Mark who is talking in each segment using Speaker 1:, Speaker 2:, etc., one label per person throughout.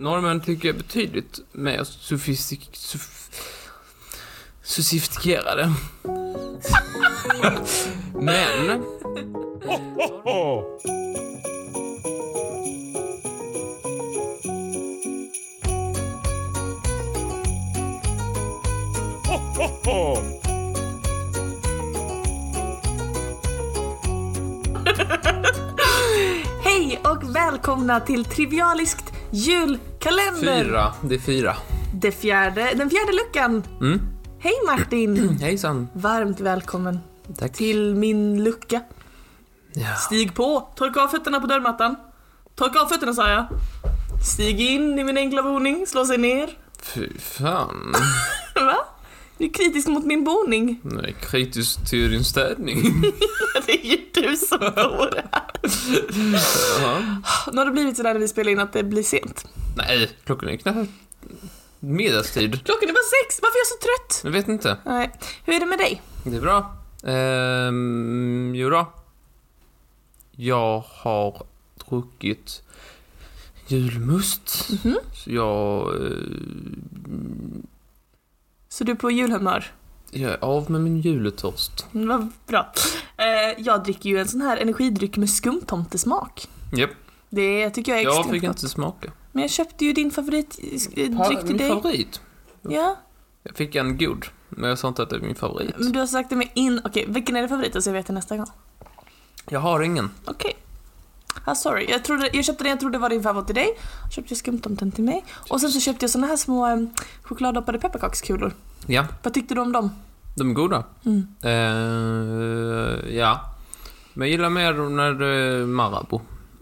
Speaker 1: Norrmän tycker jag är betydligt mer sofistik... Sof, sofistikerade. Men...
Speaker 2: Hej och välkomna till Trivialiskt julkalender!
Speaker 1: Fyra. Det är fyra.
Speaker 2: Det fjärde, den fjärde luckan.
Speaker 1: Mm.
Speaker 2: Hej Martin!
Speaker 1: Hejsan.
Speaker 2: Varmt välkommen
Speaker 1: Tack.
Speaker 2: till min lucka.
Speaker 1: Ja.
Speaker 2: Stig på! Torka av fötterna på dörrmattan. Torka av fötterna sa jag. Stig in i min enkla boning, slå sig ner.
Speaker 1: Fy fan.
Speaker 2: Va? Du är kritisk mot min boning.
Speaker 1: Nu är jag kritisk till din städning.
Speaker 2: Det är ju du som bor här.
Speaker 1: Jaha.
Speaker 2: Nu har det blivit sådär när vi spelar in att det blir sent.
Speaker 1: Nej, klockan är knappt middagstid.
Speaker 2: Klockan är bara sex, varför är jag så trött?
Speaker 1: Jag vet inte.
Speaker 2: Nej. Hur är det med dig?
Speaker 1: Det är bra. Ehm, jo då. Jag har druckit julmust. Så jag, eh,
Speaker 2: Så du är på julhumör?
Speaker 1: jag är av med min juletörst.
Speaker 2: Mm, Vad bra. Eh, jag dricker ju en sån här energidryck med skumtomtesmak.
Speaker 1: Japp,
Speaker 2: Det tycker jag är
Speaker 1: jag
Speaker 2: extremt
Speaker 1: fick
Speaker 2: gott.
Speaker 1: inte smaka.
Speaker 2: Men jag köpte ju din favoritdryck till
Speaker 1: min
Speaker 2: dig.
Speaker 1: favorit.
Speaker 2: Ja,
Speaker 1: Jag fick en god, men jag sa inte att det är min favorit.
Speaker 2: men du har sagt det med in... Okej, vilken är din favorit? Så jag vet det nästa gång.
Speaker 1: Jag har ingen.
Speaker 2: Okej. Ah, sorry. Jag, trodde, jag köpte den jag trodde var din favorit till dig. Köpte jag skumtomten till mig. Och sen så köpte jag såna här små eh, chokladdoppade pepparkakskulor.
Speaker 1: Ja,
Speaker 2: Vad tyckte du om dem?
Speaker 1: de är goda.
Speaker 2: Mm.
Speaker 1: Eh, ja. Men jag gillar mer när det är Marabou.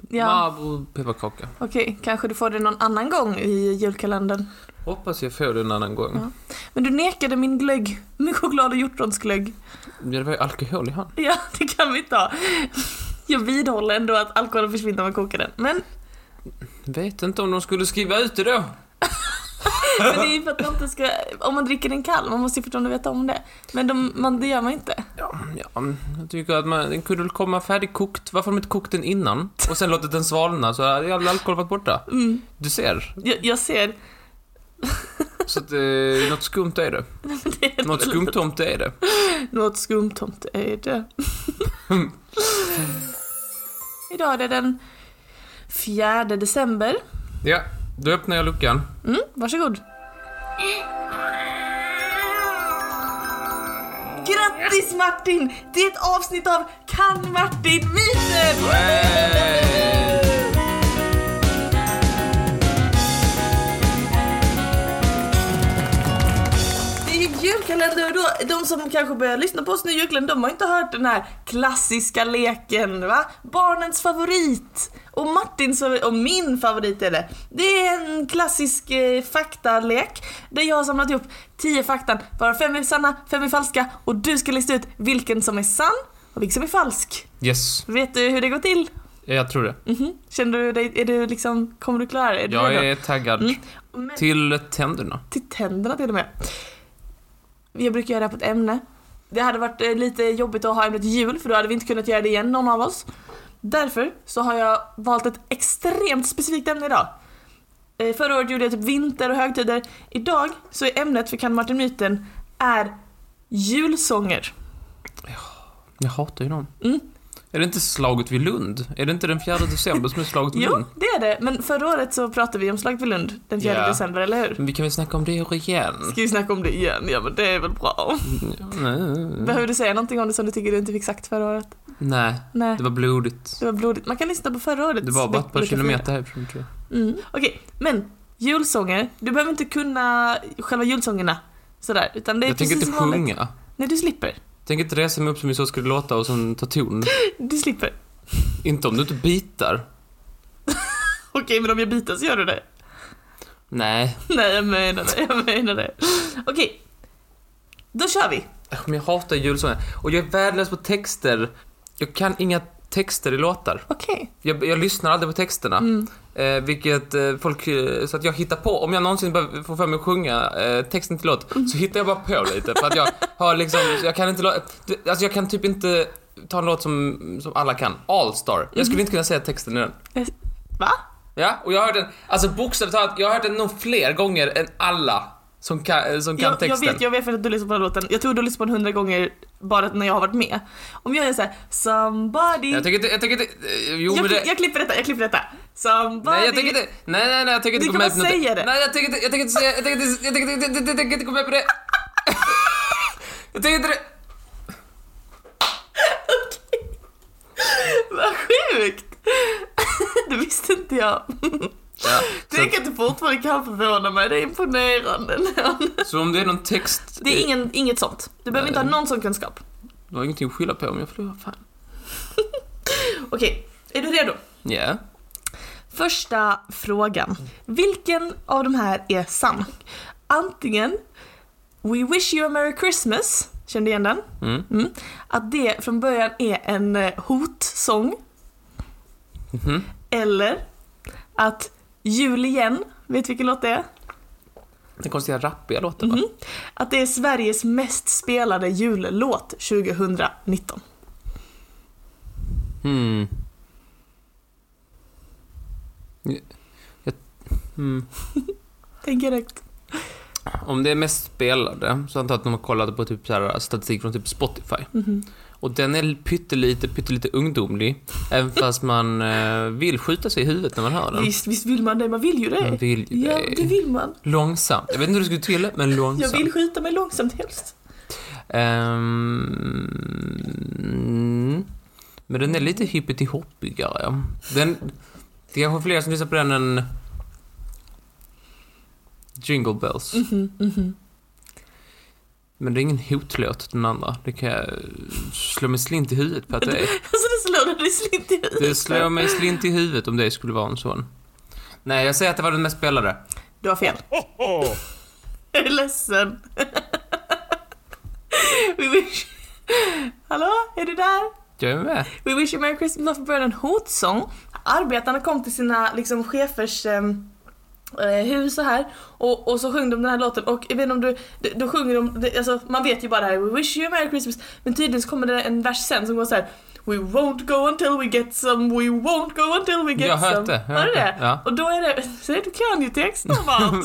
Speaker 2: Ja,
Speaker 1: Marabou pepparkaka.
Speaker 2: okej. Kanske du får det någon annan gång i julkalendern.
Speaker 1: Hoppas jag får det en annan gång.
Speaker 2: Ja. Men du nekade min glögg. Min choklad och hjortronsglögg.
Speaker 1: Men Det var ju alkohol i hand.
Speaker 2: Ja, det kan vi ta. Jag vidhåller ändå att alkoholen försvinner när man kokar den. Men,
Speaker 1: Vet inte om de skulle skriva ut det då.
Speaker 2: men det är ju för att man inte ska... Om man dricker den kall, man måste ju fortfarande veta om det. Men de, man, det gör man inte.
Speaker 1: Ja, ja, jag tycker att man, den kunde väl komma färdigkokt. Varför har de inte kokt den innan? Och sen låtit den svalna så hade all alkohol varit borta.
Speaker 2: Mm.
Speaker 1: Du ser.
Speaker 2: Jag, jag ser...
Speaker 1: Så att, eh, något skumt är det.
Speaker 2: Det är
Speaker 1: Något skumtomt är det.
Speaker 2: Något skumtomt är det. Idag är det den 4 december.
Speaker 1: Ja, då öppnar jag luckan.
Speaker 2: Mm, varsågod. Grattis Martin! Det är ett avsnitt av Kan Martin myten! Det är ju julkalender och då, de som kanske börjar lyssna på oss nu i julkalendern, de har inte hört den här klassiska leken va? Barnens favorit! Och Martins favorit, och min favorit är det. Det är en klassisk eh, faktalek där jag har samlat ihop 10 faktan, bara fem är sanna, fem är falska och du ska lista ut vilken som är sann och vilken som är falsk.
Speaker 1: Yes,
Speaker 2: Vet du hur det går till?
Speaker 1: jag tror det.
Speaker 2: Mhm. Känner du dig, är du liksom, kommer du klara dig? Är du
Speaker 1: Jag
Speaker 2: redo?
Speaker 1: är taggad.
Speaker 2: Mm. Men-
Speaker 1: Till tänderna.
Speaker 2: till tänderna till och med. Jag brukar göra det här på ett ämne. Det hade varit eh, lite jobbigt att ha ämnet jul för då hade vi inte kunnat göra det igen någon av oss. Därför så har jag valt ett extremt specifikt ämne idag. Eh, Förra året gjorde jag typ vinter och högtider. Idag så är ämnet för Kan Martin Myten är julsånger.
Speaker 1: Jag hatar ju dem.
Speaker 2: Mm.
Speaker 1: Är det inte slaget vid Lund? Är det inte den 4 december som är slaget vid
Speaker 2: Jo,
Speaker 1: Lund?
Speaker 2: det är det. Men förra året så pratade vi om Slaget vid Lund den 4
Speaker 1: Mm. Ja.
Speaker 2: december, eller hur?
Speaker 1: Men vi kan väl snacka om det igen?
Speaker 2: Ska vi snacka om det igen? Ja men det är väl bra.
Speaker 1: Mm. Nej.
Speaker 2: Behöver du säga någonting om det som du tycker du inte fick sagt förra året?
Speaker 1: Nej,
Speaker 2: Nej.
Speaker 1: det var blodigt.
Speaker 2: Det var blodigt. Man kan lyssna på förra årets
Speaker 1: Det var bara ett par
Speaker 2: vecka-
Speaker 1: kilometer härifrån tror jag.
Speaker 2: Mm. Okej, men julsånger. Du behöver inte kunna själva julsångerna. Sådär, utan det är
Speaker 1: Jag tänker
Speaker 2: precis
Speaker 1: inte
Speaker 2: som vanligt.
Speaker 1: sjunga.
Speaker 2: Nej, du slipper.
Speaker 1: Tänk inte resa mig upp som jag så skulle låta och sen ta ton.
Speaker 2: Du slipper.
Speaker 1: inte om du inte bitar.
Speaker 2: Okej, men om jag biter så gör du det.
Speaker 1: Nej.
Speaker 2: Nej, jag menar det. Jag menar det. Okej. Då kör vi.
Speaker 1: Äsch, Men jag hatar julsånger. Och jag är värdelös på texter. Jag kan inga texter i låtar.
Speaker 2: Okej.
Speaker 1: Jag, jag lyssnar aldrig på texterna.
Speaker 2: Mm.
Speaker 1: Eh, vilket eh, folk, eh, så att jag hittar på, om jag någonsin behöver- får för mig att sjunga eh, texten till låt,
Speaker 2: Mm.
Speaker 1: så hittar jag bara på lite för att jag har liksom, så jag kan inte, lå- det- alltså jag kan typ inte
Speaker 2: Mm.
Speaker 1: ta en låt som, som alla kan. All Star. Jag skulle inte kunna säga texten i den.
Speaker 2: Va?
Speaker 1: Ja, och jag har hört den, alltså bokstavligt talat, jag har hört den nog fler gånger än alla som kan, som kan
Speaker 2: jag, jag
Speaker 1: texten.
Speaker 2: vet, jag vet för att du lyssnar på den här låten. Jag tror du lyssnar på den hundra gånger bara när jag har varit med. Om jag gör såhär somebody...
Speaker 1: Jag tänker inte, jag tänker inte, eh, jo men
Speaker 2: jag,
Speaker 1: det...
Speaker 2: jag klipper detta, jag klipper detta. Somebody...
Speaker 1: Nej jag tänker inte, nej nej nej jag tänker inte
Speaker 2: Du
Speaker 1: gå med på
Speaker 2: kommer
Speaker 1: något-
Speaker 2: säga det.
Speaker 1: Nej jag tänker inte, jag tänker inte säga, jag tänker inte, jag tänker inte, jag tänker inte, jag tänker inte gå med på det. Jag tänker inte det.
Speaker 2: Vad sjukt! det visste inte jag.
Speaker 1: Ja,
Speaker 2: Tänk att du fortfarande kan förvåna mig, det är imponerande.
Speaker 1: så, så om det är någon text,
Speaker 2: Det är ingen, inget sånt. Du behöver inte ha någon sån kunskap.
Speaker 1: du har ingenting att skylla på om jag förlorar, fan.
Speaker 2: Okej, är du redo?
Speaker 1: Ja.
Speaker 2: Första frågan. Vilken av de här är sann? Antingen We wish you a merry Christmas, kände du igen den?
Speaker 1: Mm.
Speaker 2: Mm. Att det från början är en eh, hotsång.
Speaker 1: Mhm.
Speaker 2: Eller att Jul igen, vet du vilken låt det är?
Speaker 1: Den konstiga rappiga låten va?
Speaker 2: Mhm. Att det är Sveriges mest spelade jullåt 2019.
Speaker 1: Hmm. Jag, jag, hmm.
Speaker 2: Tänk direkt.
Speaker 1: Om det är mest spelade så antar jag att de har kollat på typ så här statistik från typ Spotify.
Speaker 2: Mhm.
Speaker 1: Och den är pyttelite, pyttelite ungdomlig. även fast man eh, vill skjuta sig i huvudet när man hör den.
Speaker 2: Visst, visst vill man det? Man vill ju det.
Speaker 1: Man vill ju
Speaker 2: ja,
Speaker 1: det.
Speaker 2: det vill man.
Speaker 1: Långsamt. Jag vet inte hur det skulle till, men
Speaker 2: Jag
Speaker 1: långsamt.
Speaker 2: vill skjuta mig långsamt helst.
Speaker 1: Ehm, men den är lite hippity-hoppigare. Den, det är kanske fler som lyssnar på den än Jingle Bells.
Speaker 2: Mhm,
Speaker 1: Men det är ingen hotlåt, den andra. Det kan jag slå mig slint i huvudet på att det är.
Speaker 2: Alltså det slår dig slint i huvudet.
Speaker 1: Det slår mig slint i huvudet om det skulle vara en sån. Nej, jag säger att det var den mest spelade.
Speaker 2: Du har fel. Jag är ledsen. We wish... Hallå, är du där?
Speaker 1: Jag är med.
Speaker 2: We wish you merry Christmas var från början en hotsång. Arbetarna kom till sina liksom, chefers ehm, eh, hus och här och, och så sjöng de den här låten och jag vet inte om du, d- då sjunger de, det- alltså, man vet ju bara det här We wish you a merry Christmas men tydligen så kommer det en vers sen som går så här We won't go until we get some, we won't go until we get
Speaker 1: Jag har hört
Speaker 2: some.
Speaker 1: det, jag har
Speaker 2: Har du
Speaker 1: hört
Speaker 2: det?
Speaker 1: det, ja.
Speaker 2: Och då är det, så du kan ju texten Martin!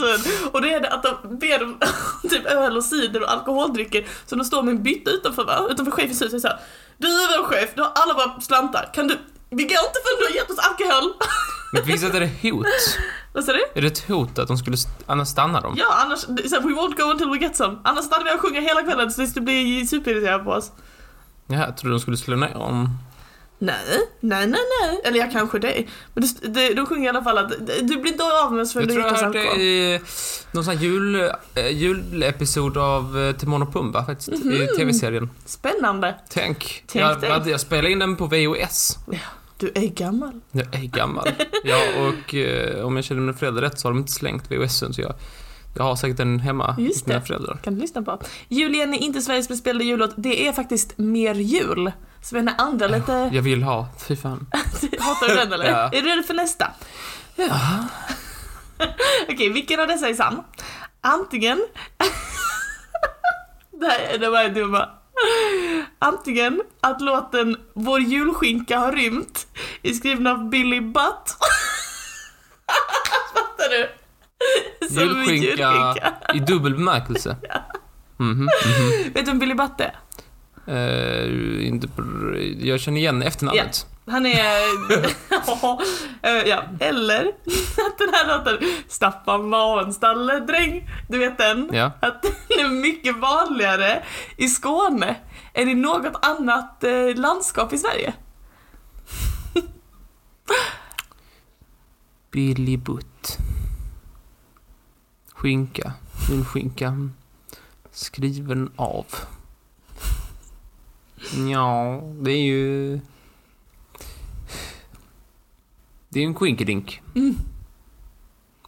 Speaker 2: och det är det att de ber om typ öl och cider och alkoholdrycker så de står med en bytta utanför, va? utanför chefens hus och säger Du är vår chef, du har alla våra slantar, kan du, vi går inte förrän du har gett oss alkohol!
Speaker 1: Men visst är det hot?
Speaker 2: Vad sa du?
Speaker 1: Är det ett hot att de skulle st- annars stanna dem?
Speaker 2: Ja, annars, det är så här, we won't go until we get some. Annars stannar vi och sjunger hela kvällen tills du blir superirriterad på oss.
Speaker 1: Ja, jag trodde de skulle slå ner om...
Speaker 2: Nej, nej, nej, nej. Eller jag kanske dig. Men det, det, de sjunger i alla fall att du blir inte av med oss förrän
Speaker 1: Jag
Speaker 2: du
Speaker 1: tror jag
Speaker 2: gett oss
Speaker 1: hörde det
Speaker 2: alkohol.
Speaker 1: i någon sån här jul, eh, julepisod av eh, Timon och Pumba faktiskt, i tv-serien.
Speaker 2: Spännande.
Speaker 1: Tänk,
Speaker 2: Mhm. Tänk
Speaker 1: jag,
Speaker 2: dig.
Speaker 1: jag, jag spelade in den på VOS.
Speaker 2: Du är gammal.
Speaker 1: Jag är gammal. ja, och eh, om jag känner mina föräldrar rätt så har de inte slängt VOSen så jag, jag har säkert den hemma
Speaker 2: Just
Speaker 1: hos mina
Speaker 2: det.
Speaker 1: föräldrar.
Speaker 2: Kan du lyssna på. Julien är inte Sveriges mest spelade jullåt. Det är faktiskt Mer jul. Som är den här andra lite...
Speaker 1: Jag vill ha, fy fan.
Speaker 2: Hatar du den eller?
Speaker 1: Ja.
Speaker 2: Är du redo för nästa?
Speaker 1: Ja.
Speaker 2: Okej, vilken av dessa är sann? Antingen... det här är de här är dumma. Antingen att låten Vår julskinka har rymt är skriven av Billy Butt. Fattar du? Som en
Speaker 1: Julskinka i dubbel bemärkelse. Mhm, mhm.
Speaker 2: Vet du vem Billy Butt är?
Speaker 1: Eh, inte, br- jag känner igen efternamnet.
Speaker 2: Han är... Eh, ja, eller att den här låten Staffan var en stalledräng. Du vet den?
Speaker 1: Ja.
Speaker 2: Att den är mycket vanligare i Skåne än i något annat eh, landskap i Sverige.
Speaker 1: Billy Butt. Skinka. Julskinka. Skriven av. Ja, det är ju... Det är ju en skinkedink.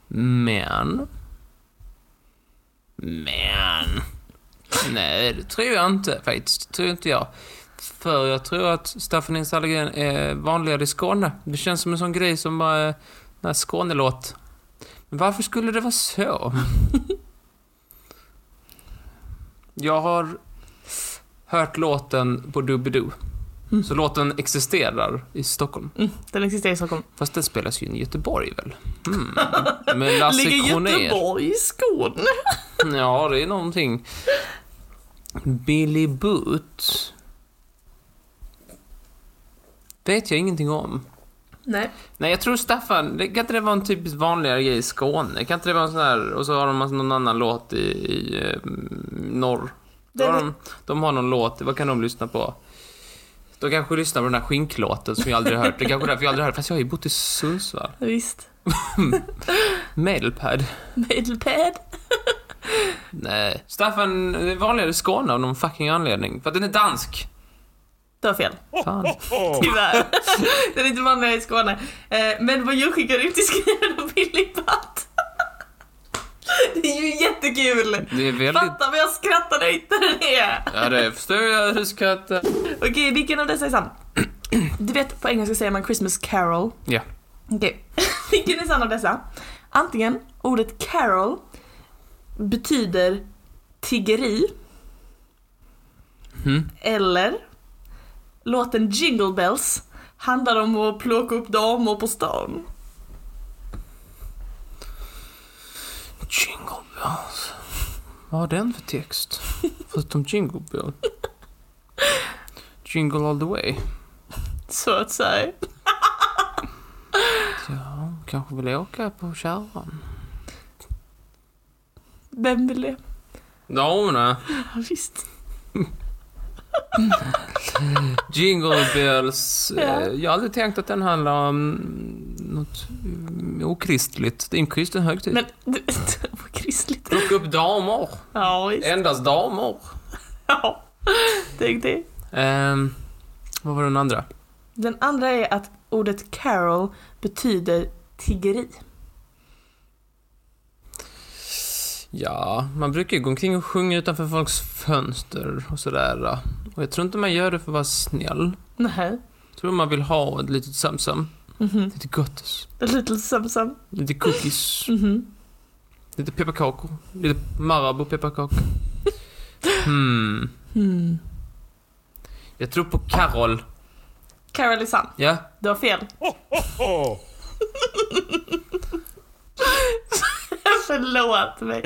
Speaker 1: Men... Men... Nej, det tror jag inte faktiskt. Det tror inte jag. För jag tror att Staffan Nils Hallgren är vanligare i Skåne. Det känns som en sån grej som bara... eh, Den här Skånelåt. Men varför skulle det vara så? jag har hört låten på Doobidoo. Så låten existerar i Stockholm.
Speaker 2: Mm, den existerar i Stockholm.
Speaker 1: Fast den spelas ju i Göteborg väl? Mm. Med Lasse
Speaker 2: Ligger
Speaker 1: Kronér.
Speaker 2: Göteborg i Skåne?
Speaker 1: Ja, det är någonting. Billy Boot. Vet jag ingenting om.
Speaker 2: Nej.
Speaker 1: Nej, jag tror Staffan, det, kan inte det vara en typiskt vanligare grej i Skåne? Kan inte det vara en sån här, och så har de alltså någon annan låt i, i eh, norr? Då
Speaker 2: Den-
Speaker 1: har de, de har någon låt, vad kan de lyssna på? De kanske lyssnar på den här skinklåten som jag aldrig har hört. Det är kanske är därför jag aldrig har hört, fast jag har ju bott i Sundsvall.
Speaker 2: Visst.
Speaker 1: Mailpad?
Speaker 2: Medelpad.
Speaker 1: Nej. Staffan, det är vanligare i Skåne av någon fucking anledning. För att den är dansk.
Speaker 2: Du har fel.
Speaker 1: Fan.
Speaker 2: Tyvärr. den är inte vanligare i Skåne. Eh, Men vad jag skickar ut i skriven av Billy Butt. Det är ju jättekul!
Speaker 1: Det är väldigt...
Speaker 2: Fatta vad jag skrattar när jag hittar den här!
Speaker 1: Ja, det förstår jag hur du skrattar.
Speaker 2: Okej, vilken av dessa är sann? Du vet, på engelska säger man Christmas Carol.
Speaker 1: Ja.
Speaker 2: Okej, vilken är sann av dessa? Antingen, ordet carol betyder tiggeri.
Speaker 1: Mhm.
Speaker 2: Eller, låten Jingle Bells handlar om att plocka upp damer på stan.
Speaker 1: Jingle bells. Vad har den för text? Förutom jingle bell. Jingle all the way.
Speaker 2: Så att säga.
Speaker 1: Ja, kanske vill jag åka på kärran.
Speaker 2: Vem vill det?
Speaker 1: Damerna.
Speaker 2: Ja, visst.
Speaker 1: Jingle bells.
Speaker 2: Ja.
Speaker 1: Eh, Jag hade tänkt att den handlar om något mm, okristligt. Det är en kristen högtid.
Speaker 2: Men, du- vad kristligt.
Speaker 1: Plocka upp damer.
Speaker 2: Ja, visst.
Speaker 1: Endast damer.
Speaker 2: Ja. Tänk det.
Speaker 1: Ehm, vad var den andra?
Speaker 2: Den andra är att ordet carol betyder tiggeri.
Speaker 1: Ja, man brukar ju gå omkring och sjunga utanför folks fönster och sådär. äh. Och jag tror inte man gör det för att vara snäll.
Speaker 2: Nej.
Speaker 1: Jag tror man vill ha ett litet samsam.
Speaker 2: Mhm.
Speaker 1: Lite gottis.
Speaker 2: A little samsam.
Speaker 1: Lite cookies.
Speaker 2: Mhm.
Speaker 1: Lite pepparkakor. Lite Marabou-pepparkakor. Hmm.
Speaker 2: Mm.
Speaker 1: Jag tror på Carol.
Speaker 2: Carol är sann.
Speaker 1: Ja?
Speaker 2: Du har fel. Förlåt mig.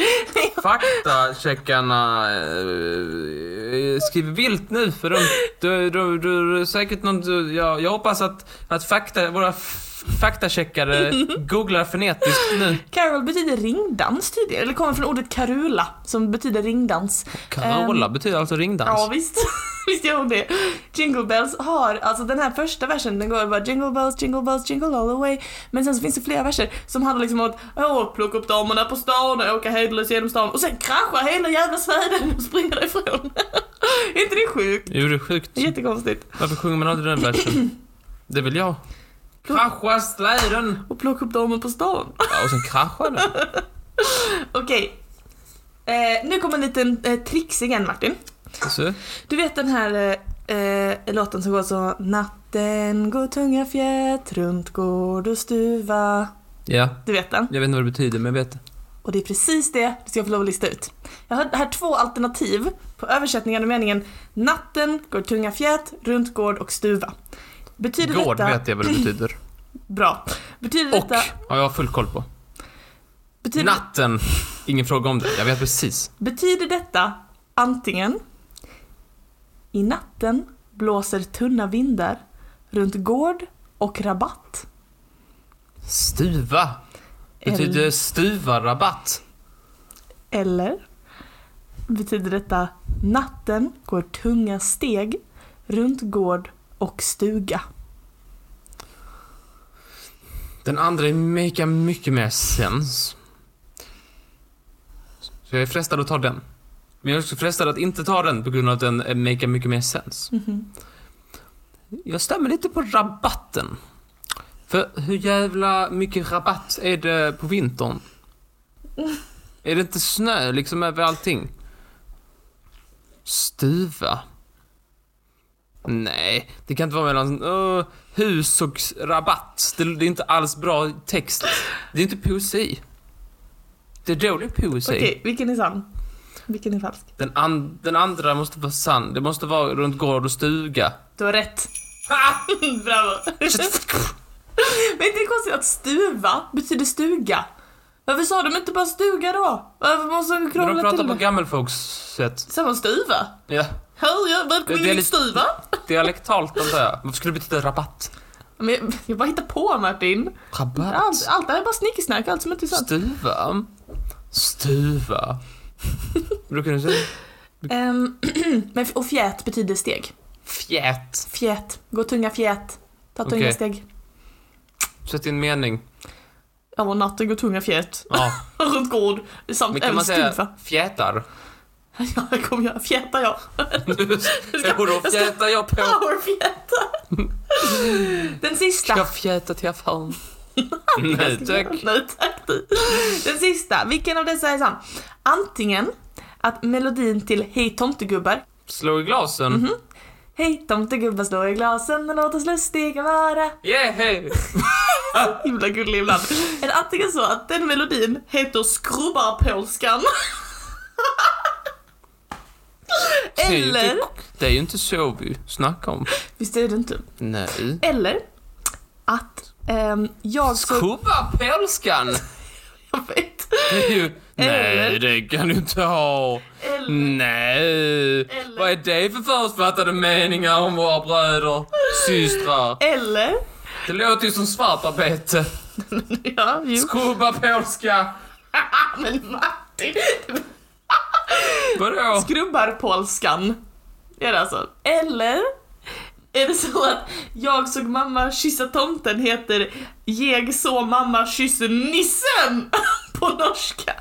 Speaker 1: Faktacheckarna eh, skriver vilt nu för de, de, de, de, de säkert någon, du- jag, jag hoppas att, att fakta, våra f- faktacheckare googlar frenetiskt nu.
Speaker 2: Carol betyder ringdans tydligen, eller kommer från ordet karula som betyder ringdans.
Speaker 1: Carola betyder alltså ringdans.
Speaker 2: Ja visst, visst gör hon det. Jingle Bells har, alltså den här första versen den går bara Jingle Bells, Jingle Bells, Jingle All The Way. Men sen så finns det flera verser som handlar liksom om att åh, plocka upp damerna på stan och åka hejdlöst genom stan och sen kraschar hela jävla Sverige och springer därifrån. är inte det sjukt?
Speaker 1: Jo, det är sjukt.
Speaker 2: Det är Jättekonstigt.
Speaker 1: Varför sjunger man aldrig den versen? Det vill jag. Krascha släden!
Speaker 2: Och plocka upp damer på stan.
Speaker 1: Ja, och sen kraschar den.
Speaker 2: Okej. Eh, nu kommer en liten eh, trixig en Martin.
Speaker 1: Så.
Speaker 2: Du vet den här eh, eh, låten som går så Natten går tunga fjät, runt går du stuva.
Speaker 1: Ja,
Speaker 2: Du vet den?
Speaker 1: jag vet inte vad det betyder, men jag vet det.
Speaker 2: Och det är precis det du ska få lov att lista ut. Jag har här två alternativ på översättningen av meningen Natten går tunga fjät, runt gård och stuva. Betyder
Speaker 1: Gård
Speaker 2: detta...
Speaker 1: vet jag vad det betyder.
Speaker 2: Bra. Betyder
Speaker 1: Och
Speaker 2: detta...
Speaker 1: har jag full koll på. Typ-
Speaker 2: Betyder,
Speaker 1: Natten! Ingen fråga om det. Jag vet precis.
Speaker 2: betyder detta antingen I natten blåser tunna vindar runt gård och rabatt.
Speaker 1: Stuva. Betyder stuva rabatt?
Speaker 2: Eller betyder detta natten går tunga steg runt gård och stuga?
Speaker 1: Den andra make mycket mer sens. Så jag är frestad att ta den. Men jag är också frestad att inte ta den på grund av att den eh, make mycket mer sens. Jag stämmer lite på rabatten. För hur jävla mycket rabatt är det på vintern? Är det inte snö liksom över allting? Stuva? Nej, det kan inte vara mellan uh, hus och s- rabatt. Det, det är inte alls bra text. Det är inte poesi. Det är dålig poesi.
Speaker 2: Okej, vilken är sann? Vilken är falsk?
Speaker 1: Den, an, den andra måste vara sann. Det måste vara runt gård och stuga.
Speaker 2: Du har rätt. Bravo. Men inte det är konstigt att stuva betyder stuga? Varför sa de inte bara stuga då? Varför måste de
Speaker 1: Men de
Speaker 2: krångla
Speaker 1: pratar
Speaker 2: till
Speaker 1: på
Speaker 2: det?
Speaker 1: gammelfolkssätt.
Speaker 2: Sa man stuva?
Speaker 1: Ja.
Speaker 2: Hej, jag- välkommen
Speaker 1: Det är
Speaker 2: till
Speaker 1: lite-
Speaker 2: stuva.
Speaker 1: Dialektalt antar jag. Varför skulle det betyda rabatt?
Speaker 2: Men jag bara hittar på Martin. Allt,
Speaker 1: Rabatt?
Speaker 2: allt det här är bara snickesnack, allt som inte är sant.
Speaker 1: Stuva? Stuva? Brukar du säga
Speaker 2: Ehm, men, och fjät betyder steg.
Speaker 1: fjät?
Speaker 2: Fjät. Gå tunga fjät. Ta tunga
Speaker 1: Okej.
Speaker 2: steg.
Speaker 1: Sätt in mening.
Speaker 2: Över natten går tunga fjät.
Speaker 1: Ja.
Speaker 2: Runt gård. Samt
Speaker 1: Men kan
Speaker 2: även
Speaker 1: man säga
Speaker 2: stuva.
Speaker 1: fjätar?
Speaker 2: Ja, jag kommer göra. Fjätar jag.
Speaker 1: Jo, då fjätar jag
Speaker 2: Ah!
Speaker 1: på.
Speaker 2: Powerfjätar. Den sista.
Speaker 1: Jag fjätar till affären. Nej tack.
Speaker 2: Nej tack du. Den sista, vilken av dessa är sann? Antingen att melodin till Hej tomtegubbar,
Speaker 1: Slå i glasen.
Speaker 2: Mhm. Hej tomtegubbar slå i glasen och låt oss lustiga vara.
Speaker 1: Yeah, hey.
Speaker 2: Himla gullig ibland. Eller antingen så att den melodin heter Skrubbarpolskan.
Speaker 1: Det är ju
Speaker 2: Eller,
Speaker 1: inte- Typ. Det är ju inte så vi snackar om.
Speaker 2: visst är det inte?
Speaker 1: Nej.
Speaker 2: Eller att ehm, jag så...
Speaker 1: Skubba pälskan!
Speaker 2: Jag vet.
Speaker 1: Det är ju- Nej,
Speaker 2: Eller-
Speaker 1: det kan du inte ha.
Speaker 2: Eller,
Speaker 1: Nej.
Speaker 2: Eller-
Speaker 1: Vad är det för förutfattade meningar om våra bröder, systrar?
Speaker 2: eller,
Speaker 1: Det låter ju som svartarbete.
Speaker 2: ja, jo.
Speaker 1: Skubba pälska!
Speaker 2: Men Martin,
Speaker 1: Vadå?
Speaker 2: Skrubbarpolskan. Det är det alltså. Eller är det så att jag såg mamma kyssa tomten heter Jag såg mamma kyssa nissen på norska?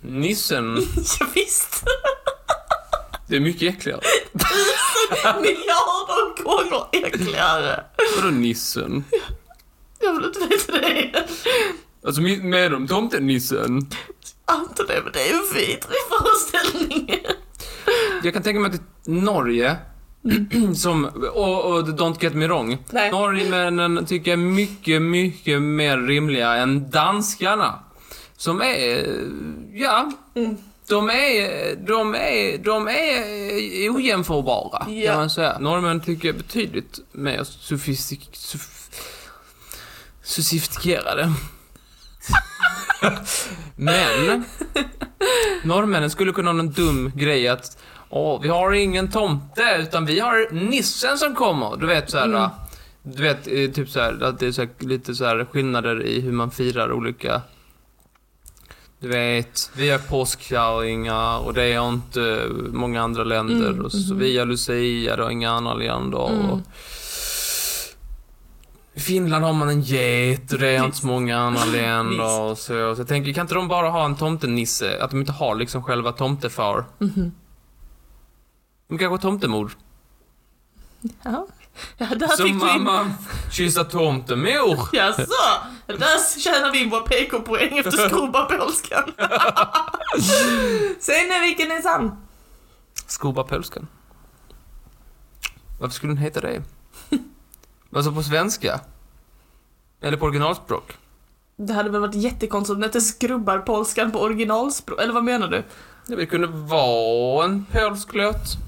Speaker 1: Nissen.
Speaker 2: Ja, visst.
Speaker 1: Det är mycket äckligare.
Speaker 2: Miljarder gånger äckligare.
Speaker 1: Vadå nissen?
Speaker 2: Jag vill inte veta det.
Speaker 1: Alltså mi- med dem tomtenissen.
Speaker 2: Anton, det men det är ju en vidrig föreställning.
Speaker 1: Jag kan tänka mig att det är Norge som, och, och don't get me wrong.
Speaker 2: Nej.
Speaker 1: Norrmännen tycker jag är mycket, mycket mer rimliga än danskarna. Som är, ja.
Speaker 2: Mm.
Speaker 1: De är, de är, de är ojämförbara
Speaker 2: Ja.
Speaker 1: kan man säga. Norrmän tycker jag är betydligt mer sofistik... Sof, sofistikerade. Men norrmännen skulle kunna ha någon dum grej att Åh, vi har ingen tomte utan vi har nissen som kommer. Du vet såhär,
Speaker 2: Mm.
Speaker 1: du vet eh, typ såhär att det är så här, lite såhär skillnader i hur man firar olika du vet, vi har påskkärringar och det har inte många andra länder.
Speaker 2: Mm,
Speaker 1: och så vi har lucia, det har inga andra länder. Och I Finland har man en get och det har inte så många andra länder. Och så. så jag tänker, kan inte de bara ha en tomtenisse? Att de inte har liksom själva tomtefar.
Speaker 2: Mhm.
Speaker 1: De kanske har tomtemor.
Speaker 2: Ja, ja där
Speaker 1: Så
Speaker 2: fick vi in...
Speaker 1: mamma kysser tomtemor.
Speaker 2: Jaså? Där tjänar vi in våra PK-poäng efter skrubbarpolskan. Säg nu vilken är sann.
Speaker 1: Skoba Pölskan. Varför skulle den heta det? alltså på svenska? Eller på originalspråk?
Speaker 2: Det hade väl varit jättekonstigt om det hette skrubbarpolskan på originalspråk, eller vad menar du?
Speaker 1: Ja, Det kunde vara en polsk låt. Och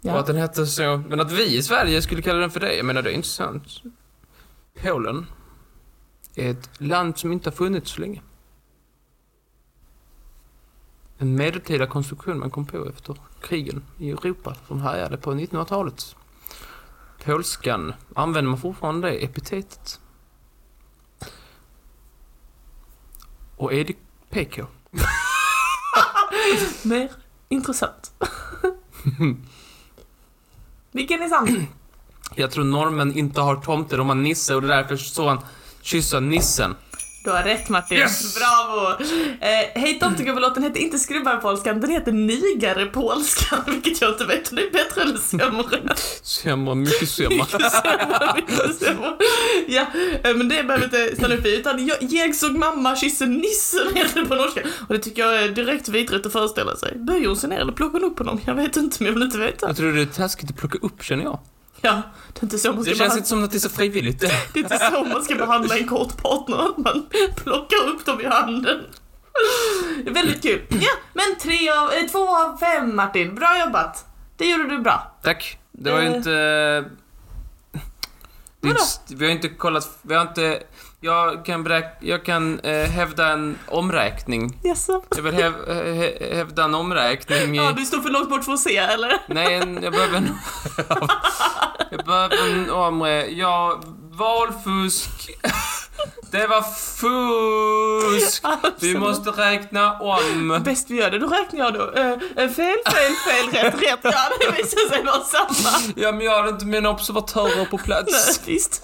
Speaker 2: Ja.
Speaker 1: att den hette så. Men att vi i Sverige skulle kalla den för det, jag menar det är inte sant. Polen är ett land som inte har funnits så länge. En medeltida konstruktion man kom på efter krigen i Europa som härjade på 1900-talet. Polskan, använder man fortfarande det epitetet? Och är det PK?
Speaker 2: Mer intressant. vilken är sann?
Speaker 1: Jag tror norrmän inte har tomter, de har nisse och det är därför så han kyssa nissen.
Speaker 2: Du har rätt Martin.
Speaker 1: Yes!
Speaker 2: Bravo! Eh, Hej tomtegubbelåten hette inte skrubbarpolskan, den heter nigarepolskan, vilket jag inte vet om det är bättre eller sämre.
Speaker 1: Sämre, mycket sämre.
Speaker 2: ja, eh, men det behöver jag inte stanna upp i. Utan jag, jag såg mamma kyssa nissen heter det på norska. Och det tycker jag är direkt vidrigt att föreställa sig. Böjer hon sig ner eller plockar hon upp honom? Jag vet inte, men jag vill inte veta.
Speaker 1: Jag tror det är taskigt att plocka upp känner jag.
Speaker 2: Ja, det är inte så man ska,
Speaker 1: Det känns
Speaker 2: behandla,
Speaker 1: inte som att det är så frivilligt.
Speaker 2: det är inte så man ska behandla en kort partner. Att man plockar upp dem i handen. Väldigt kul. Ja, men tre av, eh, två av fem Martin. Bra jobbat. Det gjorde du bra.
Speaker 1: Tack. Det var ju
Speaker 2: Eh.
Speaker 1: inte... Det är
Speaker 2: Vadå?
Speaker 1: inte st- vi har inte kollat... Vi har inte... Jag kan, beräk, jag kan eh, hävda en omräkning.
Speaker 2: Jaså?
Speaker 1: Jag vill häv, eh, hä- hävda en omräkning. i-
Speaker 2: Ja, du står för långt bort för att se eller?
Speaker 1: Nej, en, jag behöver en... jag behöver en omräkning. Ja, valfusk. det var fusk. Vi
Speaker 2: Absolut.
Speaker 1: måste räkna om.
Speaker 2: Bäst vi gör det, då räknar jag då. Eh, eh, fel, fel, fel, rätt, rätt. Ja, det visar sig vara samma.
Speaker 1: Ja, men jag hade inte mina observatörer på plats.
Speaker 2: Nej, visst.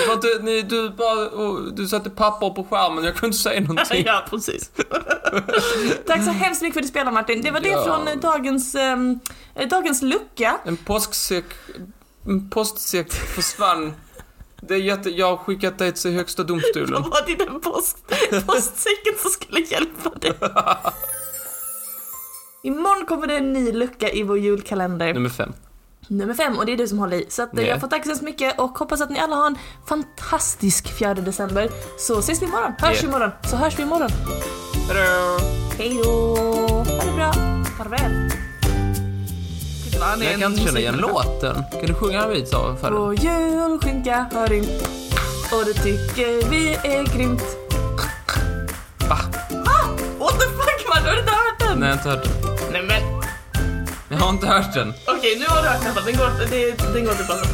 Speaker 1: Det var inte, ni, du, bara, och, du satte papper på skärmen, jag kunde inte säga någonting.
Speaker 2: Ja, precis. Tack så hemskt mycket för att du spelade Martin. Det var det
Speaker 1: Ja.
Speaker 2: från eh, dagens, ehm, eh, dagens lucka.
Speaker 1: En påsksäck, en postsäck försvann. Det är jätte, jag har skickat dig till högsta domstolen.
Speaker 2: Vad var det den post, postsäcken som skulle hjälpa dig? Imorgon kommer det en ny lucka i vår julkalender.
Speaker 1: Nummer fem.
Speaker 2: Nummer fem och det är du som håller i. Så att eh,
Speaker 1: Yeah.
Speaker 2: jag får tacka så mycket och hoppas att ni alla har en fantastisk 4 december. Så ses vi imorgon. Hörs
Speaker 1: Yeah.
Speaker 2: vi imorgon. Så hörs vi imorgon.
Speaker 1: Hejdå!
Speaker 2: Hej då! Ha det bra. Farväl. Gud, vad han är
Speaker 1: Jag kan
Speaker 2: en
Speaker 1: inte känna igen
Speaker 2: musikmänniska.
Speaker 1: låten. Kan du sjunga den vid sa för den?
Speaker 2: Vår julskinka hör in och det tycker vi är grymt. Ah!
Speaker 1: Va?
Speaker 2: What the fuck man, du har inte hört den?
Speaker 1: Nej, jag har inte hört den.
Speaker 2: Nej men
Speaker 1: Jag har inte hört den.
Speaker 2: okej nu har du hört den i alla fall. Den går, det, den går till plattan.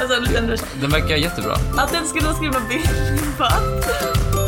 Speaker 2: alltså en liten vers.
Speaker 1: Den verkar jättebra.
Speaker 2: Att den skulle skriva bild på.